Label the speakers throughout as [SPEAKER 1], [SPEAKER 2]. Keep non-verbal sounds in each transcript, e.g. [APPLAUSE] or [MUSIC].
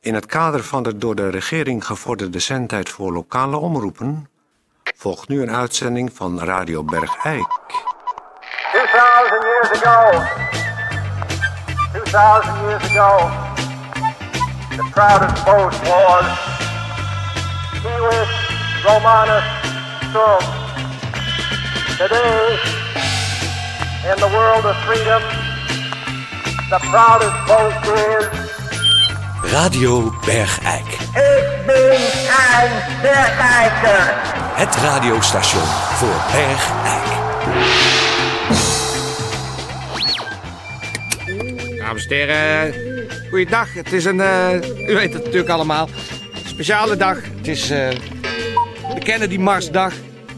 [SPEAKER 1] In het kader van de door de regering gevorderde zendtijd voor lokale omroepen volgt nu een uitzending van Radio Bergijk.
[SPEAKER 2] 2,000 years ago, 2,000 years ago, the proudest boat was Civis Romanus Sturm. Today, in the world of freedom, the proudest boat is
[SPEAKER 3] Radio Bergijk.
[SPEAKER 2] Ik ben een bergijker.
[SPEAKER 3] Het radiostation voor Bergijk.
[SPEAKER 4] Dames en heren, goeiedag. Het is een, eh, u weet het natuurlijk allemaal, speciale dag. Het is eh, de Kennedy Marsdag.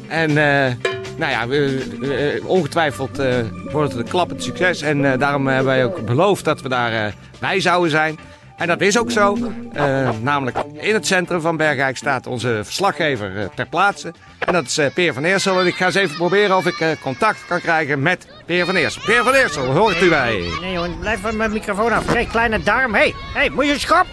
[SPEAKER 4] En eh, nou ja, we- we- eh, ongetwijfeld eh, wordt het een klappend succes. En eh, daarom hebben wij ook beloofd dat we daar eh, bij zouden zijn. En dat is ook zo. Eh, namelijk in het centrum van Bergijk staat onze verslaggever eh, ter plaatse. En dat is eh, Peer van Eersel. En ik ga eens even proberen of ik eh, contact kan krijgen met Peer van Eersel. Peer van Eersel, hoort u mij?
[SPEAKER 5] Nee jongen, blijf van mijn microfoon af. Kijk, kleine darm. Hé, hey, hey, moet je schop?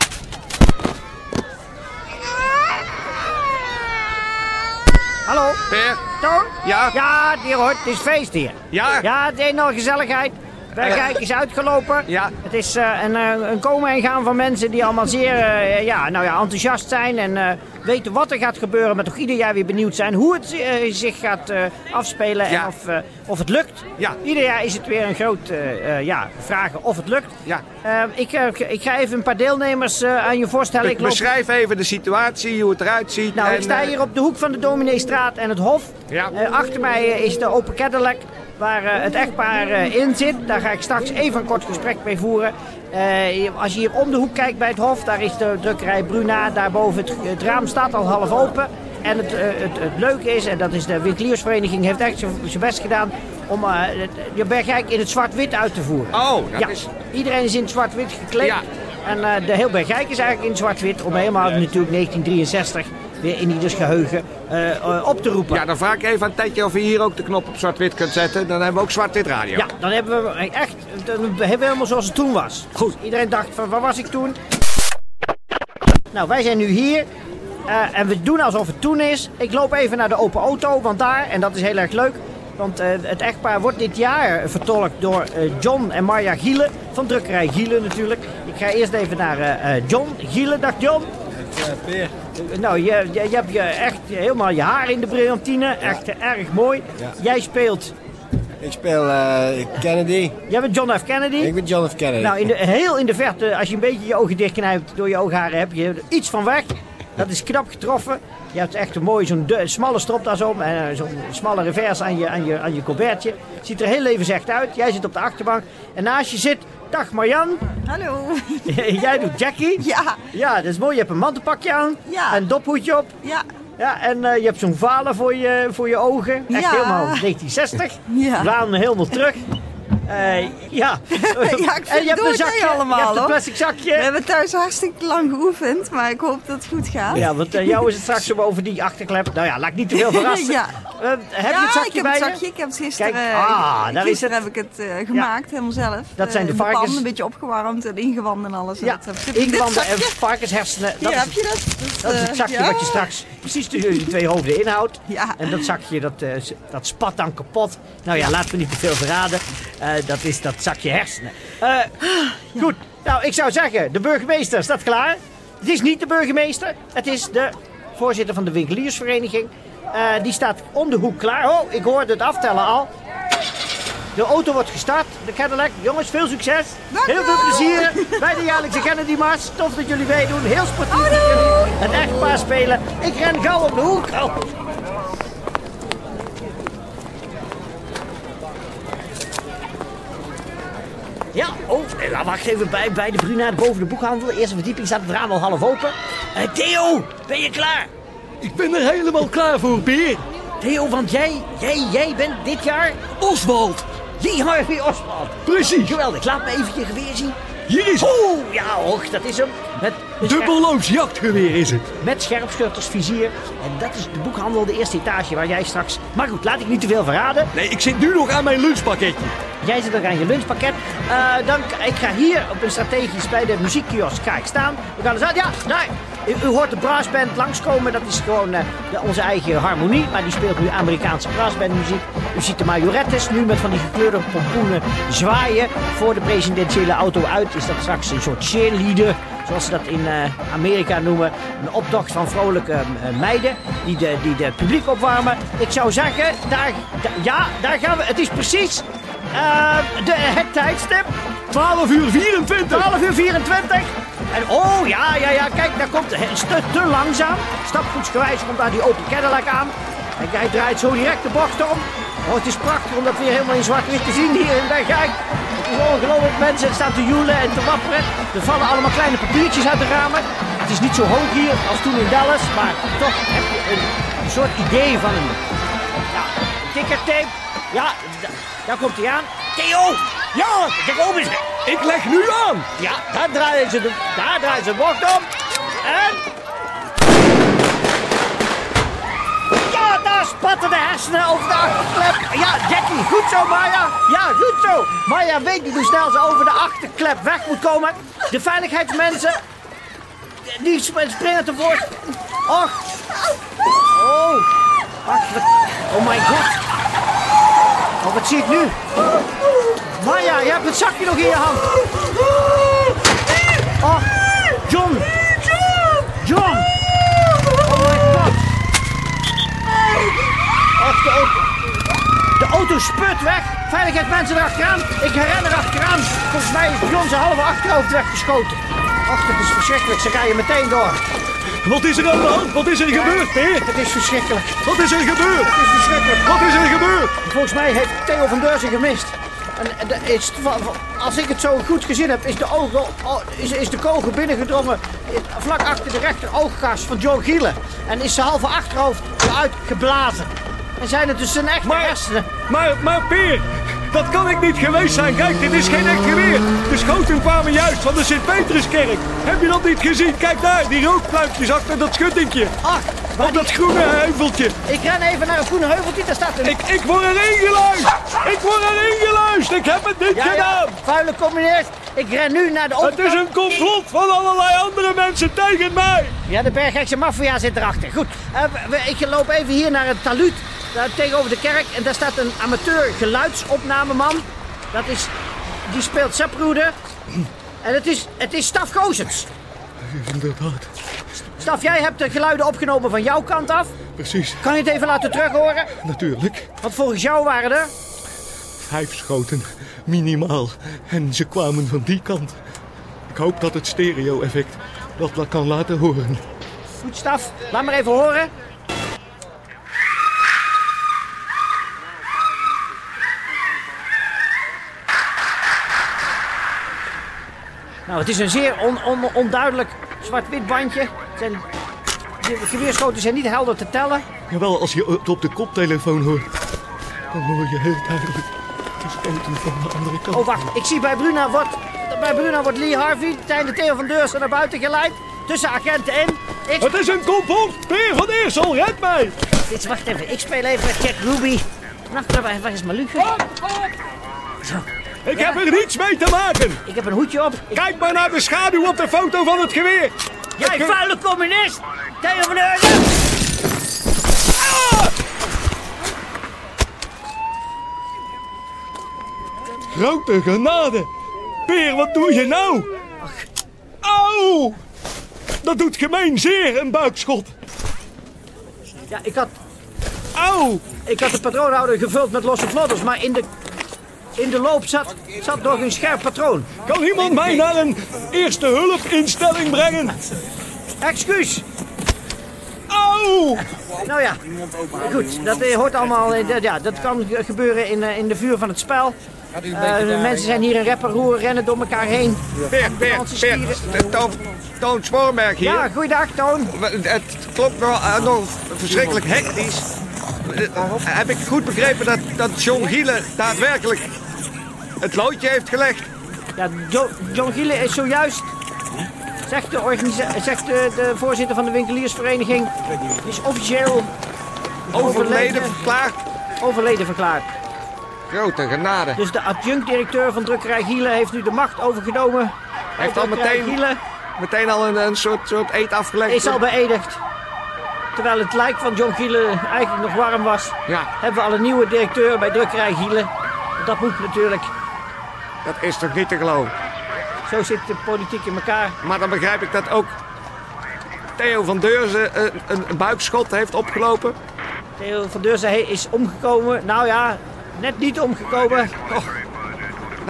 [SPEAKER 5] Hallo,
[SPEAKER 4] Peer?
[SPEAKER 5] Toon?
[SPEAKER 4] Ja?
[SPEAKER 5] Ja, hier hoort, het is feest hier.
[SPEAKER 4] Ja? Eh.
[SPEAKER 5] Ja, het is nog gezelligheid. Bergijk is uitgelopen.
[SPEAKER 4] Ja.
[SPEAKER 5] Het is eh, een, eh, een komen en gaan van mensen die allemaal zeer eh, ja, nou ja, enthousiast zijn en eh, weten wat er gaat gebeuren, maar toch ieder jaar weer benieuwd zijn hoe het eh, zich gaat eh, afspelen
[SPEAKER 4] Ja.
[SPEAKER 5] en of, eh, of het lukt.
[SPEAKER 4] Ja.
[SPEAKER 5] Ieder jaar is het weer een groot eh, eh, ja, vragen of het lukt.
[SPEAKER 4] Ja.
[SPEAKER 5] Eh, ik, eh, ik- ik ga even een paar deelnemers eh, aan je voorstellen.
[SPEAKER 4] Ik Beschrijf even de situatie, hoe het eruit ziet.
[SPEAKER 5] Nou,
[SPEAKER 4] en,
[SPEAKER 5] ik sta
[SPEAKER 4] eh,
[SPEAKER 5] hier op de hoek van de Domineestraat en het Hof.
[SPEAKER 4] Ja.
[SPEAKER 5] Eh, achter mij eh, is de Open Cadillac, waar eh, het echtpaar eh, in zit. Daar ga ik straks even een kort gesprek mee voeren. Eh, hier- als je hier om de hoek kijkt bij het Hof, daar is de drukkerij Bruna. Daarboven het, het raam staat al half open. En het, eh, het, het leuke is, en dat is de winkeliersvereniging heeft echt zijn zijn best gedaan... om eh, het- je Bergijk in het zwart-wit uit te voeren.
[SPEAKER 4] Oh, dat
[SPEAKER 5] ja.
[SPEAKER 4] is-
[SPEAKER 5] Iedereen is in het zwart-wit gekleed.
[SPEAKER 4] Ja.
[SPEAKER 5] En eh, de heel Bergijk is eigenlijk in zwart-wit om helemaal natuurlijk 1963 weer in ieders geheugen eh, eh, op te roepen.
[SPEAKER 4] Ja, dan vraag ik even aan Tetje of je hier ook de knop op zwart-wit kunt zetten. Dan hebben we ook zwart-wit radio.
[SPEAKER 5] Ja, dan hebben we echt dan hebben we helemaal zoals het toen was. Goed. Iedereen dacht van waar was ik toen? Nou, wij zijn nu hier. eh, en we doen alsof het toen is. Ik loop even naar de open auto, want daar, en dat is heel erg leuk. Want eh, het echtpaar wordt dit jaar vertolkt door eh, John en Marja Gielen. Van drukkerij Gielen natuurlijk. Ik ga eerst even naar eh, eh, John. Gielen, dag John. Nou, je, je, je hebt je echt helemaal je haar in de brillantine. Echt eh, erg mooi. Jij speelt...
[SPEAKER 6] Ik speel eh, Kennedy.
[SPEAKER 5] Jij bent John F. Kennedy.
[SPEAKER 6] Ik ben John F. Kennedy.
[SPEAKER 5] Nou, in de, heel in de verte, als je een beetje je ogen dichtknijpt door je oogharen, heb je er iets van weg. Dat is knap getroffen. Je hebt echt een mooi, zo'n du- smalle stropdas om en eh, zo'n smalle revers aan je, aan, je, aan je colbertje. Ziet er heel levensecht uit. Jij zit op de achterbank en naast je zit, dag Marjan, [LAUGHS]
[SPEAKER 7] Hallo.
[SPEAKER 5] jij doet Jackie.
[SPEAKER 7] Ja,
[SPEAKER 5] Ja, dat is mooi. Je hebt een mantelpakje aan
[SPEAKER 7] Ja.
[SPEAKER 5] en een dophoedje op.
[SPEAKER 7] ja,
[SPEAKER 5] Ja, en eh, je hebt zo'n valen voor je, voor je ogen. Echt
[SPEAKER 7] Ja.
[SPEAKER 5] helemaal 1960.
[SPEAKER 7] Ja.
[SPEAKER 5] Waan helemaal terug. Eh,
[SPEAKER 7] [LAUGHS]
[SPEAKER 5] ja.
[SPEAKER 7] vind
[SPEAKER 5] en Oh, je hebt
[SPEAKER 7] het
[SPEAKER 5] een
[SPEAKER 7] dood, hè,
[SPEAKER 5] zakje,
[SPEAKER 7] allemaal,
[SPEAKER 5] je hebt een
[SPEAKER 7] hoor.
[SPEAKER 5] plastic zakje.
[SPEAKER 7] we hebben thuis hartstikke lang geoefend, maar ik hoop dat het goed gaat.
[SPEAKER 5] Ja, want eh, jou is het straks om over die achterklep. Nou ja, laat ik niet
[SPEAKER 7] [LAUGHS]
[SPEAKER 5] te veel verrassen.
[SPEAKER 7] Ja.
[SPEAKER 5] Eh, heb je
[SPEAKER 7] Ja,
[SPEAKER 5] het zakje
[SPEAKER 7] ik heb
[SPEAKER 5] bij
[SPEAKER 7] het
[SPEAKER 5] je?
[SPEAKER 7] zakje. Ik heb het gisteren, eh,
[SPEAKER 5] Kijk, ah, daar is
[SPEAKER 7] gisteren
[SPEAKER 5] het.
[SPEAKER 7] heb ik het eh, gemaakt, helemaal zelf.
[SPEAKER 5] Dat
[SPEAKER 7] Eh,
[SPEAKER 5] zijn de
[SPEAKER 7] in pan,
[SPEAKER 5] varkens.
[SPEAKER 7] een beetje opgewarmd en ingewanden en alles. En
[SPEAKER 5] Ja,
[SPEAKER 7] dat heb ik-
[SPEAKER 5] ingewanden
[SPEAKER 7] Dit
[SPEAKER 5] en
[SPEAKER 7] zakje,
[SPEAKER 5] varkenshersenen. Dat is
[SPEAKER 7] Hier heb je dat. Dus,
[SPEAKER 5] Dat is
[SPEAKER 7] eh,
[SPEAKER 5] het zakje
[SPEAKER 7] ja.
[SPEAKER 5] wat je straks precies tussen je twee hoofden inhoudt.
[SPEAKER 7] Ja.
[SPEAKER 5] En dat zakje, dat, eh, z- dat spat dan kapot. Nou ja, laten we niet te veel verraden. Eh, dat is dat zakje hersenen. Eh, Goed, nou ik zou zeggen, de burgemeester staat klaar. Het is niet de burgemeester, het is de voorzitter van de winkeliersvereniging. Eh, die staat om de hoek klaar. Oh, ik hoorde het aftellen al. De auto wordt gestart, de Cadillac. Jongens, veel succes.
[SPEAKER 7] Dank
[SPEAKER 5] Heel veel
[SPEAKER 7] u.
[SPEAKER 5] plezier bij de jaarlijkse Kennedy Mars. Tof dat jullie meedoen. Heel sportief dat jullie het echtpaar spelen. Ik ren gauw op de hoek. Oh. Ja, oh, eh, nou, wacht even bij, bij de Bruna, boven de boekhandel. Eerste verdieping staat het raam al half open. Eh, Theo, ben je klaar?
[SPEAKER 8] Ik ben er helemaal klaar voor, Peer.
[SPEAKER 5] Theo, want jij, jij, jij bent dit jaar
[SPEAKER 8] Oswald,
[SPEAKER 5] die Harvey Oswald.
[SPEAKER 8] precies.
[SPEAKER 5] Geweldig, laat me even je geweer zien.
[SPEAKER 8] Hier is...
[SPEAKER 5] Oeh, ja, och, dat is hem. Met
[SPEAKER 8] Dubbelloos jachtgeweer is het.
[SPEAKER 5] Met scherpschuttersvizier. En dat is de boekhandel, de eerste etage waar jij straks... Maar goed, laat ik niet te veel verraden.
[SPEAKER 8] Nee, ik zit nu nog aan mijn lunchpakketje.
[SPEAKER 5] Jij zit er aan je lunchpakket. Eh, dan, ik ga hier op een strategisch bij de muziekkiosk ga ik staan. We gaan eens uit. Ja, daar. U, u hoort de brassband langskomen. Dat is gewoon eh, de- onze eigen harmonie. Maar die speelt nu Amerikaanse brassbandmuziek. U ziet de majorettes nu met van die gekleurde pompoenen zwaaien voor de presidentiële auto uit. Is dat straks een soort cheerleader, zoals ze dat in eh, Amerika noemen. Een optocht van vrolijke eh, meiden die de, die de publiek opwarmen. Ik zou zeggen, daar, da- ja, daar gaan we. Het is precies eh, de, het tijdstip,
[SPEAKER 8] 12 uur 24.
[SPEAKER 5] 12 uur 24. En oh ja, ja, ja, kijk, daar komt het is te, te langzaam. Stapvoetsgewijs komt daar die open Cadillac aan. En hij draait zo direct de bocht om. Oh, het is prachtig om dat weer helemaal in zwart-wit te zien hier in Bergijk. Het is ongelooflijk, mensen staan te joelen en te wapperen. Er vallen allemaal kleine papiertjes uit de ramen. Het is niet zo hoog hier als toen in Dallas, maar toch heb je een, een soort idee van een ja, dikke tape. Ja, d- daar komt hij aan. Theo! Ja! Kijk om eens.
[SPEAKER 8] Ik leg nu aan.
[SPEAKER 5] Ja, daar draaien ze de, daar draaien ze de bocht om. En... Ja, daar spatten de hersenen over de achterklep. Ja, Jackie, goed zo, Maya. Ja, goed zo. Maya weet niet hoe snel ze over de achterklep weg moet komen. De veiligheidsmensen, die sp- springen tevoorschijn. Och. Oh. Ach, wat- Oh my god. Oh, wat zie ik nu? Maya, je hebt het zakje nog in je hand. Oh, John! John! Oh my god! Och, de auto... De auto spurt weg. Veiligheid mensen erachteraan. Ik herinner achteraan. Volgens mij is John zijn halve achterhoofd weggeschoten. Och, dat is verschrikkelijk. Ze rijden meteen door.
[SPEAKER 8] Wat is er aan de hand? Wat is er gebeurd, Peer?
[SPEAKER 5] Het is verschrikkelijk.
[SPEAKER 8] Wat is er gebeurd?
[SPEAKER 5] Het is verschrikkelijk.
[SPEAKER 8] Wat is er gebeurd?
[SPEAKER 5] Volgens mij heeft Theo van Deurzen gemist. En, en de- is, va- va- als ik het zo goed gezien heb, is de, oog, o- is, is de kogel binnengedrongen i- vlak achter de rechteroogkas van John Gielen. En is zijn halve achterhoofd eruit geblazen. En zijn het dus zijn echte
[SPEAKER 8] Maar-
[SPEAKER 5] hersenen.
[SPEAKER 8] Maar, maar Peer, dat kan ik niet geweest zijn. Kijk, dit is geen echt geweer. De schoten kwamen juist van de Sint-Petruskerk. Heb je dat niet gezien? Kijk daar, die rookpluimpjes achter dat schuttingje.
[SPEAKER 5] Ach,
[SPEAKER 8] Op dat groene heuveltje.
[SPEAKER 5] ik ren even naar een groene heuveltje, daar staat een...
[SPEAKER 8] Ik, ik word erin geluisterd. Ik word erin geluisterd. Ik heb het niet
[SPEAKER 5] ja, ja,
[SPEAKER 8] gedaan.
[SPEAKER 5] vuile communist. Ik ren nu naar de
[SPEAKER 8] Het is
[SPEAKER 5] overkant.
[SPEAKER 8] een complot van allerlei andere mensen tegen mij.
[SPEAKER 5] Ja, de Bergrijkse maffia zit erachter. Goed, eh, we- we- ik loop even hier naar het taluut daar tegenover de kerk. En daar staat een amateur geluidsopnameman. Dat is, die speelt Seproeder. En het is, het is Staf Gozens.
[SPEAKER 8] Inderdaad,
[SPEAKER 5] Staf, jij hebt de geluiden opgenomen van jouw kant af.
[SPEAKER 8] precies.
[SPEAKER 5] Kan je het even laten terughoren?
[SPEAKER 8] Natuurlijk.
[SPEAKER 5] Want volgens jou waren er...
[SPEAKER 8] Vijf schoten, minimaal. En ze kwamen van die kant. Ik hoop dat het stereo-effect dat la- kan laten horen.
[SPEAKER 5] Goed, Staf, laat maar even horen. Nou, het is een zeer on, on- onduidelijk zwart-wit bandje. Het zijn, de geweerschoten zijn niet helder te tellen.
[SPEAKER 8] Jawel, als je het op de koptelefoon hoort, dan hoor je heel duidelijk de schoten van de andere kant.
[SPEAKER 5] Oh, wacht. Ik zie bij Bruna wordt, bij Bruna wordt Lee Harvey, Tijn de Theo van Deursen naar buiten geleid. Tussen agenten in. Ik,
[SPEAKER 8] Het is een complot! Peer van Eersel, red mij!
[SPEAKER 5] Dit, wacht even. Ik speel even met Jack Ruby. Wacht, waar- waar is mijn luchtje?
[SPEAKER 8] Ik heb er niets mee te maken!
[SPEAKER 5] Ik heb een hoedje op. Ik
[SPEAKER 8] Kijk maar naar de schaduw op de foto van het geweer!
[SPEAKER 5] Jij vuile communist! Theo van Deurzen!
[SPEAKER 8] Grote genade! Peer, wat doe je nou? Auw! Dat doet gemeen zeer, een buikschot!
[SPEAKER 5] Ja, ik had,
[SPEAKER 8] Auw!
[SPEAKER 5] ik had de patroonhouder gevuld met losse vlodders, maar in de, in de loop zat, zat nog een scherp patroon.
[SPEAKER 8] Kan iemand mij naar een eerste hulpinstelling brengen?
[SPEAKER 5] Excuus!
[SPEAKER 8] Auw!
[SPEAKER 5] Nou ja, goed, dat eh, hoort allemaal, eh, dat- ja, dat kan ge- gebeuren in, eh, in de vuur van het spel. Eh, de mensen zijn hier in rep en roer, rennen door elkaar heen.
[SPEAKER 4] Peer, Peer, Peer. de Toon, Toon Spoorberg hier.
[SPEAKER 5] Ja, goeiedag Toon.
[SPEAKER 4] We- Het klopt wel, eh, nog verschrikkelijk hectisch. Eh, Heb ik goed begrepen dat, dat John Gielen daadwerkelijk het loodje heeft gelegd?
[SPEAKER 5] Ja, Jo- John Gielen is zojuist Zegt de, organisa- zegt de, de voorzitter van de winkeliersvereniging is officieel
[SPEAKER 4] Overleden verklaard.
[SPEAKER 5] overleden verklaard.
[SPEAKER 4] Grote genade.
[SPEAKER 5] Dus de adjunct-directeur van drukkerij Gielen heeft nu de macht overgenomen.
[SPEAKER 4] Heeft al
[SPEAKER 5] Drukkerij
[SPEAKER 4] meteen,
[SPEAKER 5] Gielen
[SPEAKER 4] meteen al een, een soort, soort eet afgelegd.
[SPEAKER 5] is al beëdigd. Terwijl het lijk van John Gielen eigenlijk nog warm was,
[SPEAKER 4] Ja,
[SPEAKER 5] hebben we al een nieuwe directeur bij drukkerij Gielen. Dat moet natuurlijk.
[SPEAKER 4] dat is toch niet te geloven.
[SPEAKER 5] Zo zit de politiek in elkaar.
[SPEAKER 4] Maar dan begrijp ik dat ook Theo van Deurzen een, een, een buikschot heeft opgelopen.
[SPEAKER 5] Theo van Deurzen he- is omgekomen. Nou ja, net niet omgekomen. Maar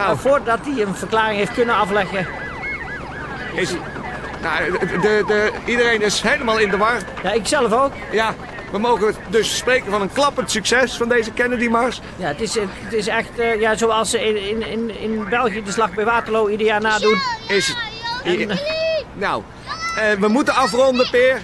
[SPEAKER 4] Nou,
[SPEAKER 5] voordat hij een verklaring heeft kunnen afleggen,
[SPEAKER 4] is, nou de, de, iedereen is helemaal in de war.
[SPEAKER 5] Ja, ik zelf ook.
[SPEAKER 4] Ja, we mogen dus spreken van een klappend succes van deze Kennedy Mars.
[SPEAKER 5] Ja, het, is, het is echt eh, ja, zoals ze in, in, in, in België de slag bij Waterloo ieder jaar nadoen.
[SPEAKER 4] Is,
[SPEAKER 5] En, eh,
[SPEAKER 4] nou, eh, we moeten afronden, Peer.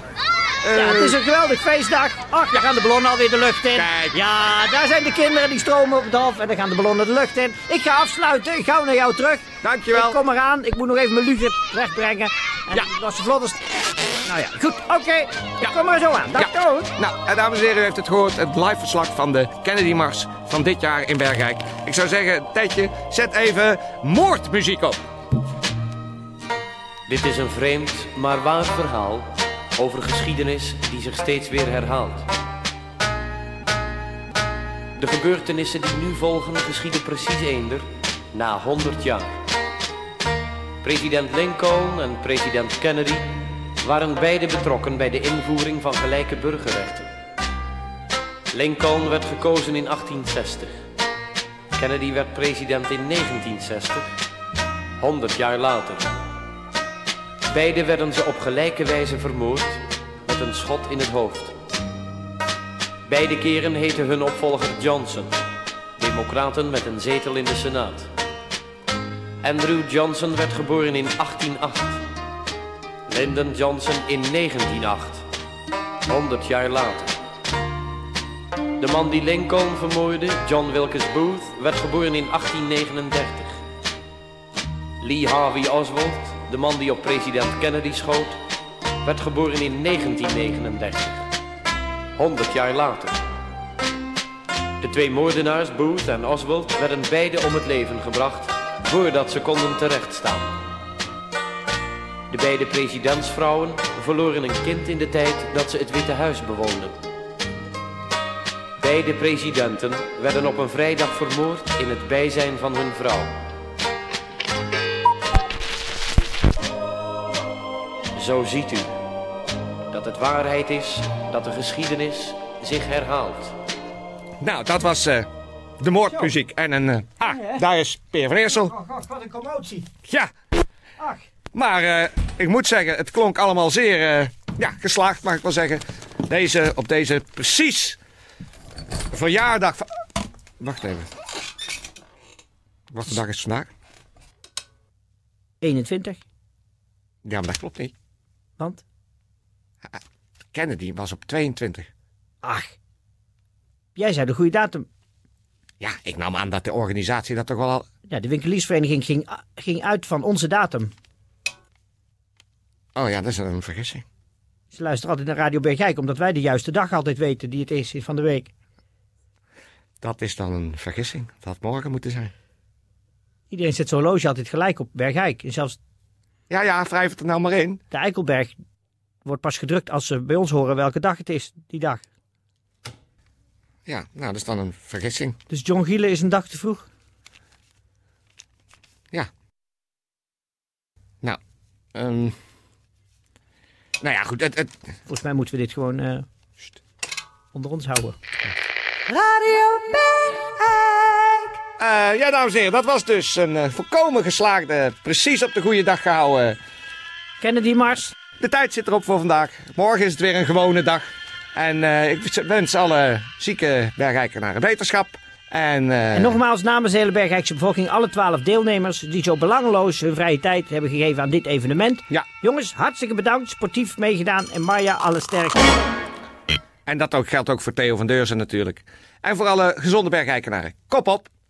[SPEAKER 4] Eh,
[SPEAKER 5] ja, het is een geweldig feestdag. Ach, daar gaan de ballonnen alweer de lucht in.
[SPEAKER 4] Kijk.
[SPEAKER 5] Ja, daar zijn de kinderen die stromen op het hof en daar gaan de ballonnen de lucht in. Ik ga afsluiten, ik ga naar jou terug.
[SPEAKER 4] Dankjewel.
[SPEAKER 5] Ik kom eraan, ik moet nog even mijn lugen wegbrengen. En
[SPEAKER 4] Ja.
[SPEAKER 5] ja. was de vlottest. Nou ja, goed, oké. Ik kom er zo aan. Dag,
[SPEAKER 4] Ja.
[SPEAKER 5] Toon.
[SPEAKER 4] Nou, eh, dames en heren, u heeft het gehoord. Het live verslag van de Kennedy Mars van dit jaar in Bergrijk. Ik zou zeggen, Tijdje, zet even moordmuziek op.
[SPEAKER 9] Dit is een vreemd, maar waar verhaal over geschiedenis die zich steeds weer herhaalt. De gebeurtenissen die nu volgen geschieden precies eender na 100 jaar. President Lincoln en president Kennedy waren beide betrokken bij de invoering van gelijke burgerrechten. Lincoln werd gekozen in 1860. Kennedy werd president in 1960, 100 jaar later. Beiden werden ze op gelijke wijze vermoord met een schot in het hoofd. Beide keren heette hun opvolger Johnson, Democraten met een zetel in de Senaat. Andrew Johnson werd geboren in 1808. Lyndon Johnson in 1908, 100 jaar later. De man die Lincoln vermoorde, John Wilkes Booth, werd geboren in 1839. Lee Harvey Oswald, de man die op president Kennedy schoot, werd geboren in 1939, 100 jaar later. De twee moordenaars, Booth en Oswald, werden beide om het leven gebracht voordat ze konden terechtstaan. De beide presidentsvrouwen verloren een kind in de tijd dat ze het Witte Huis bewoonden. Beide presidenten werden op een vrijdag vermoord in het bijzijn van hun vrouw. Zo ziet u dat het waarheid is dat de geschiedenis zich herhaalt.
[SPEAKER 4] Nou, dat was eh, de moordmuziek. En een. eh, ah, daar is Peer van Eersel.
[SPEAKER 5] Oh god, wat een commotie.
[SPEAKER 4] Ja,
[SPEAKER 5] Ach,
[SPEAKER 4] maar eh, ik moet zeggen, het klonk allemaal zeer eh, ja, geslaagd, mag ik wel zeggen. Deze, op deze precies verjaardag van. Wacht even. Wat voor dag is het vandaag?
[SPEAKER 5] 21,
[SPEAKER 4] Ja, maar dat klopt niet.
[SPEAKER 5] want...
[SPEAKER 4] Kennedy was op 22.
[SPEAKER 5] Ach, jij zei de goede datum.
[SPEAKER 4] Ja, ik nam aan dat de organisatie dat toch wel al.
[SPEAKER 5] Ja, de winkeliersvereniging ging, ging uit van onze datum.
[SPEAKER 4] Oh ja, dat is een vergissing.
[SPEAKER 5] Ze luisteren altijd naar Radio Bergijk, omdat wij de juiste dag altijd weten die het is van de week.
[SPEAKER 4] Dat is dan een vergissing. Dat had morgen moeten zijn.
[SPEAKER 5] Iedereen zet zo'n horloge altijd gelijk op Bergijk. En zelfs
[SPEAKER 4] Ja, ja, wrijf het er nou maar in.
[SPEAKER 5] de Eikelberg wordt pas gedrukt als ze bij ons horen welke dag het is, die dag.
[SPEAKER 4] Ja, nou, dat is dan een vergissing.
[SPEAKER 5] Dus John Gielen is een dag te vroeg.
[SPEAKER 4] Ja. Nou, ehm nou ja, goed. Het, het,
[SPEAKER 5] Volgens mij moeten we dit gewoon eh, onder ons houden.
[SPEAKER 7] Radio Bergijk.
[SPEAKER 4] Eh, ja, dames en heren, dat was dus een eh, volkomen geslaagde, precies op de goede dag gehouden.
[SPEAKER 5] Kennedy Mars,
[SPEAKER 4] De tijd zit erop voor vandaag. Morgen is het weer een gewone dag. En eh, ik wens alle zieke bergrijkenaren wetenschap. En, eh,
[SPEAKER 5] En nogmaals namens de hele Bergrijkse bevolking, alle twaalf deelnemers die zo belangeloos hun vrije tijd hebben gegeven aan dit evenement.
[SPEAKER 4] Ja.
[SPEAKER 5] Jongens, hartstikke bedankt, sportief meegedaan en Marja, alle sterkte.
[SPEAKER 4] en dat ook, geldt ook voor Theo van Deurzen natuurlijk. En voor alle gezonde bergrijkenaren. Kop op!